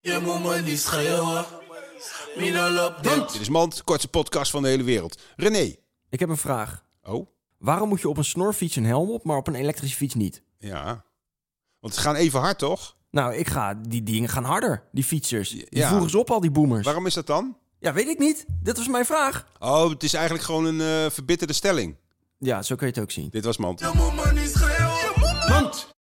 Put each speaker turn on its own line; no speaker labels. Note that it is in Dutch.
Je moet me niet schreeuwen. Mina loopt dood.
Dit is Mand, kortste podcast van de hele wereld. René.
Ik heb een vraag.
Oh,
Waarom moet je op een snorfiets een helm op, maar op een elektrische fiets niet?
ja. Want ze gaan even hard, toch?
Nou, ik ga, die dingen gaan harder, die fietsers. Die
Ja.
voeren ze op, al die boomers.
Waarom is dat dan?
Ja, weet ik niet. Dit was mijn vraag.
Oh, het is eigenlijk gewoon een eh, verbitterde stelling.
Ja, zo kun je het ook zien.
Dit was Mand.
Je moet me niet schreeuwen.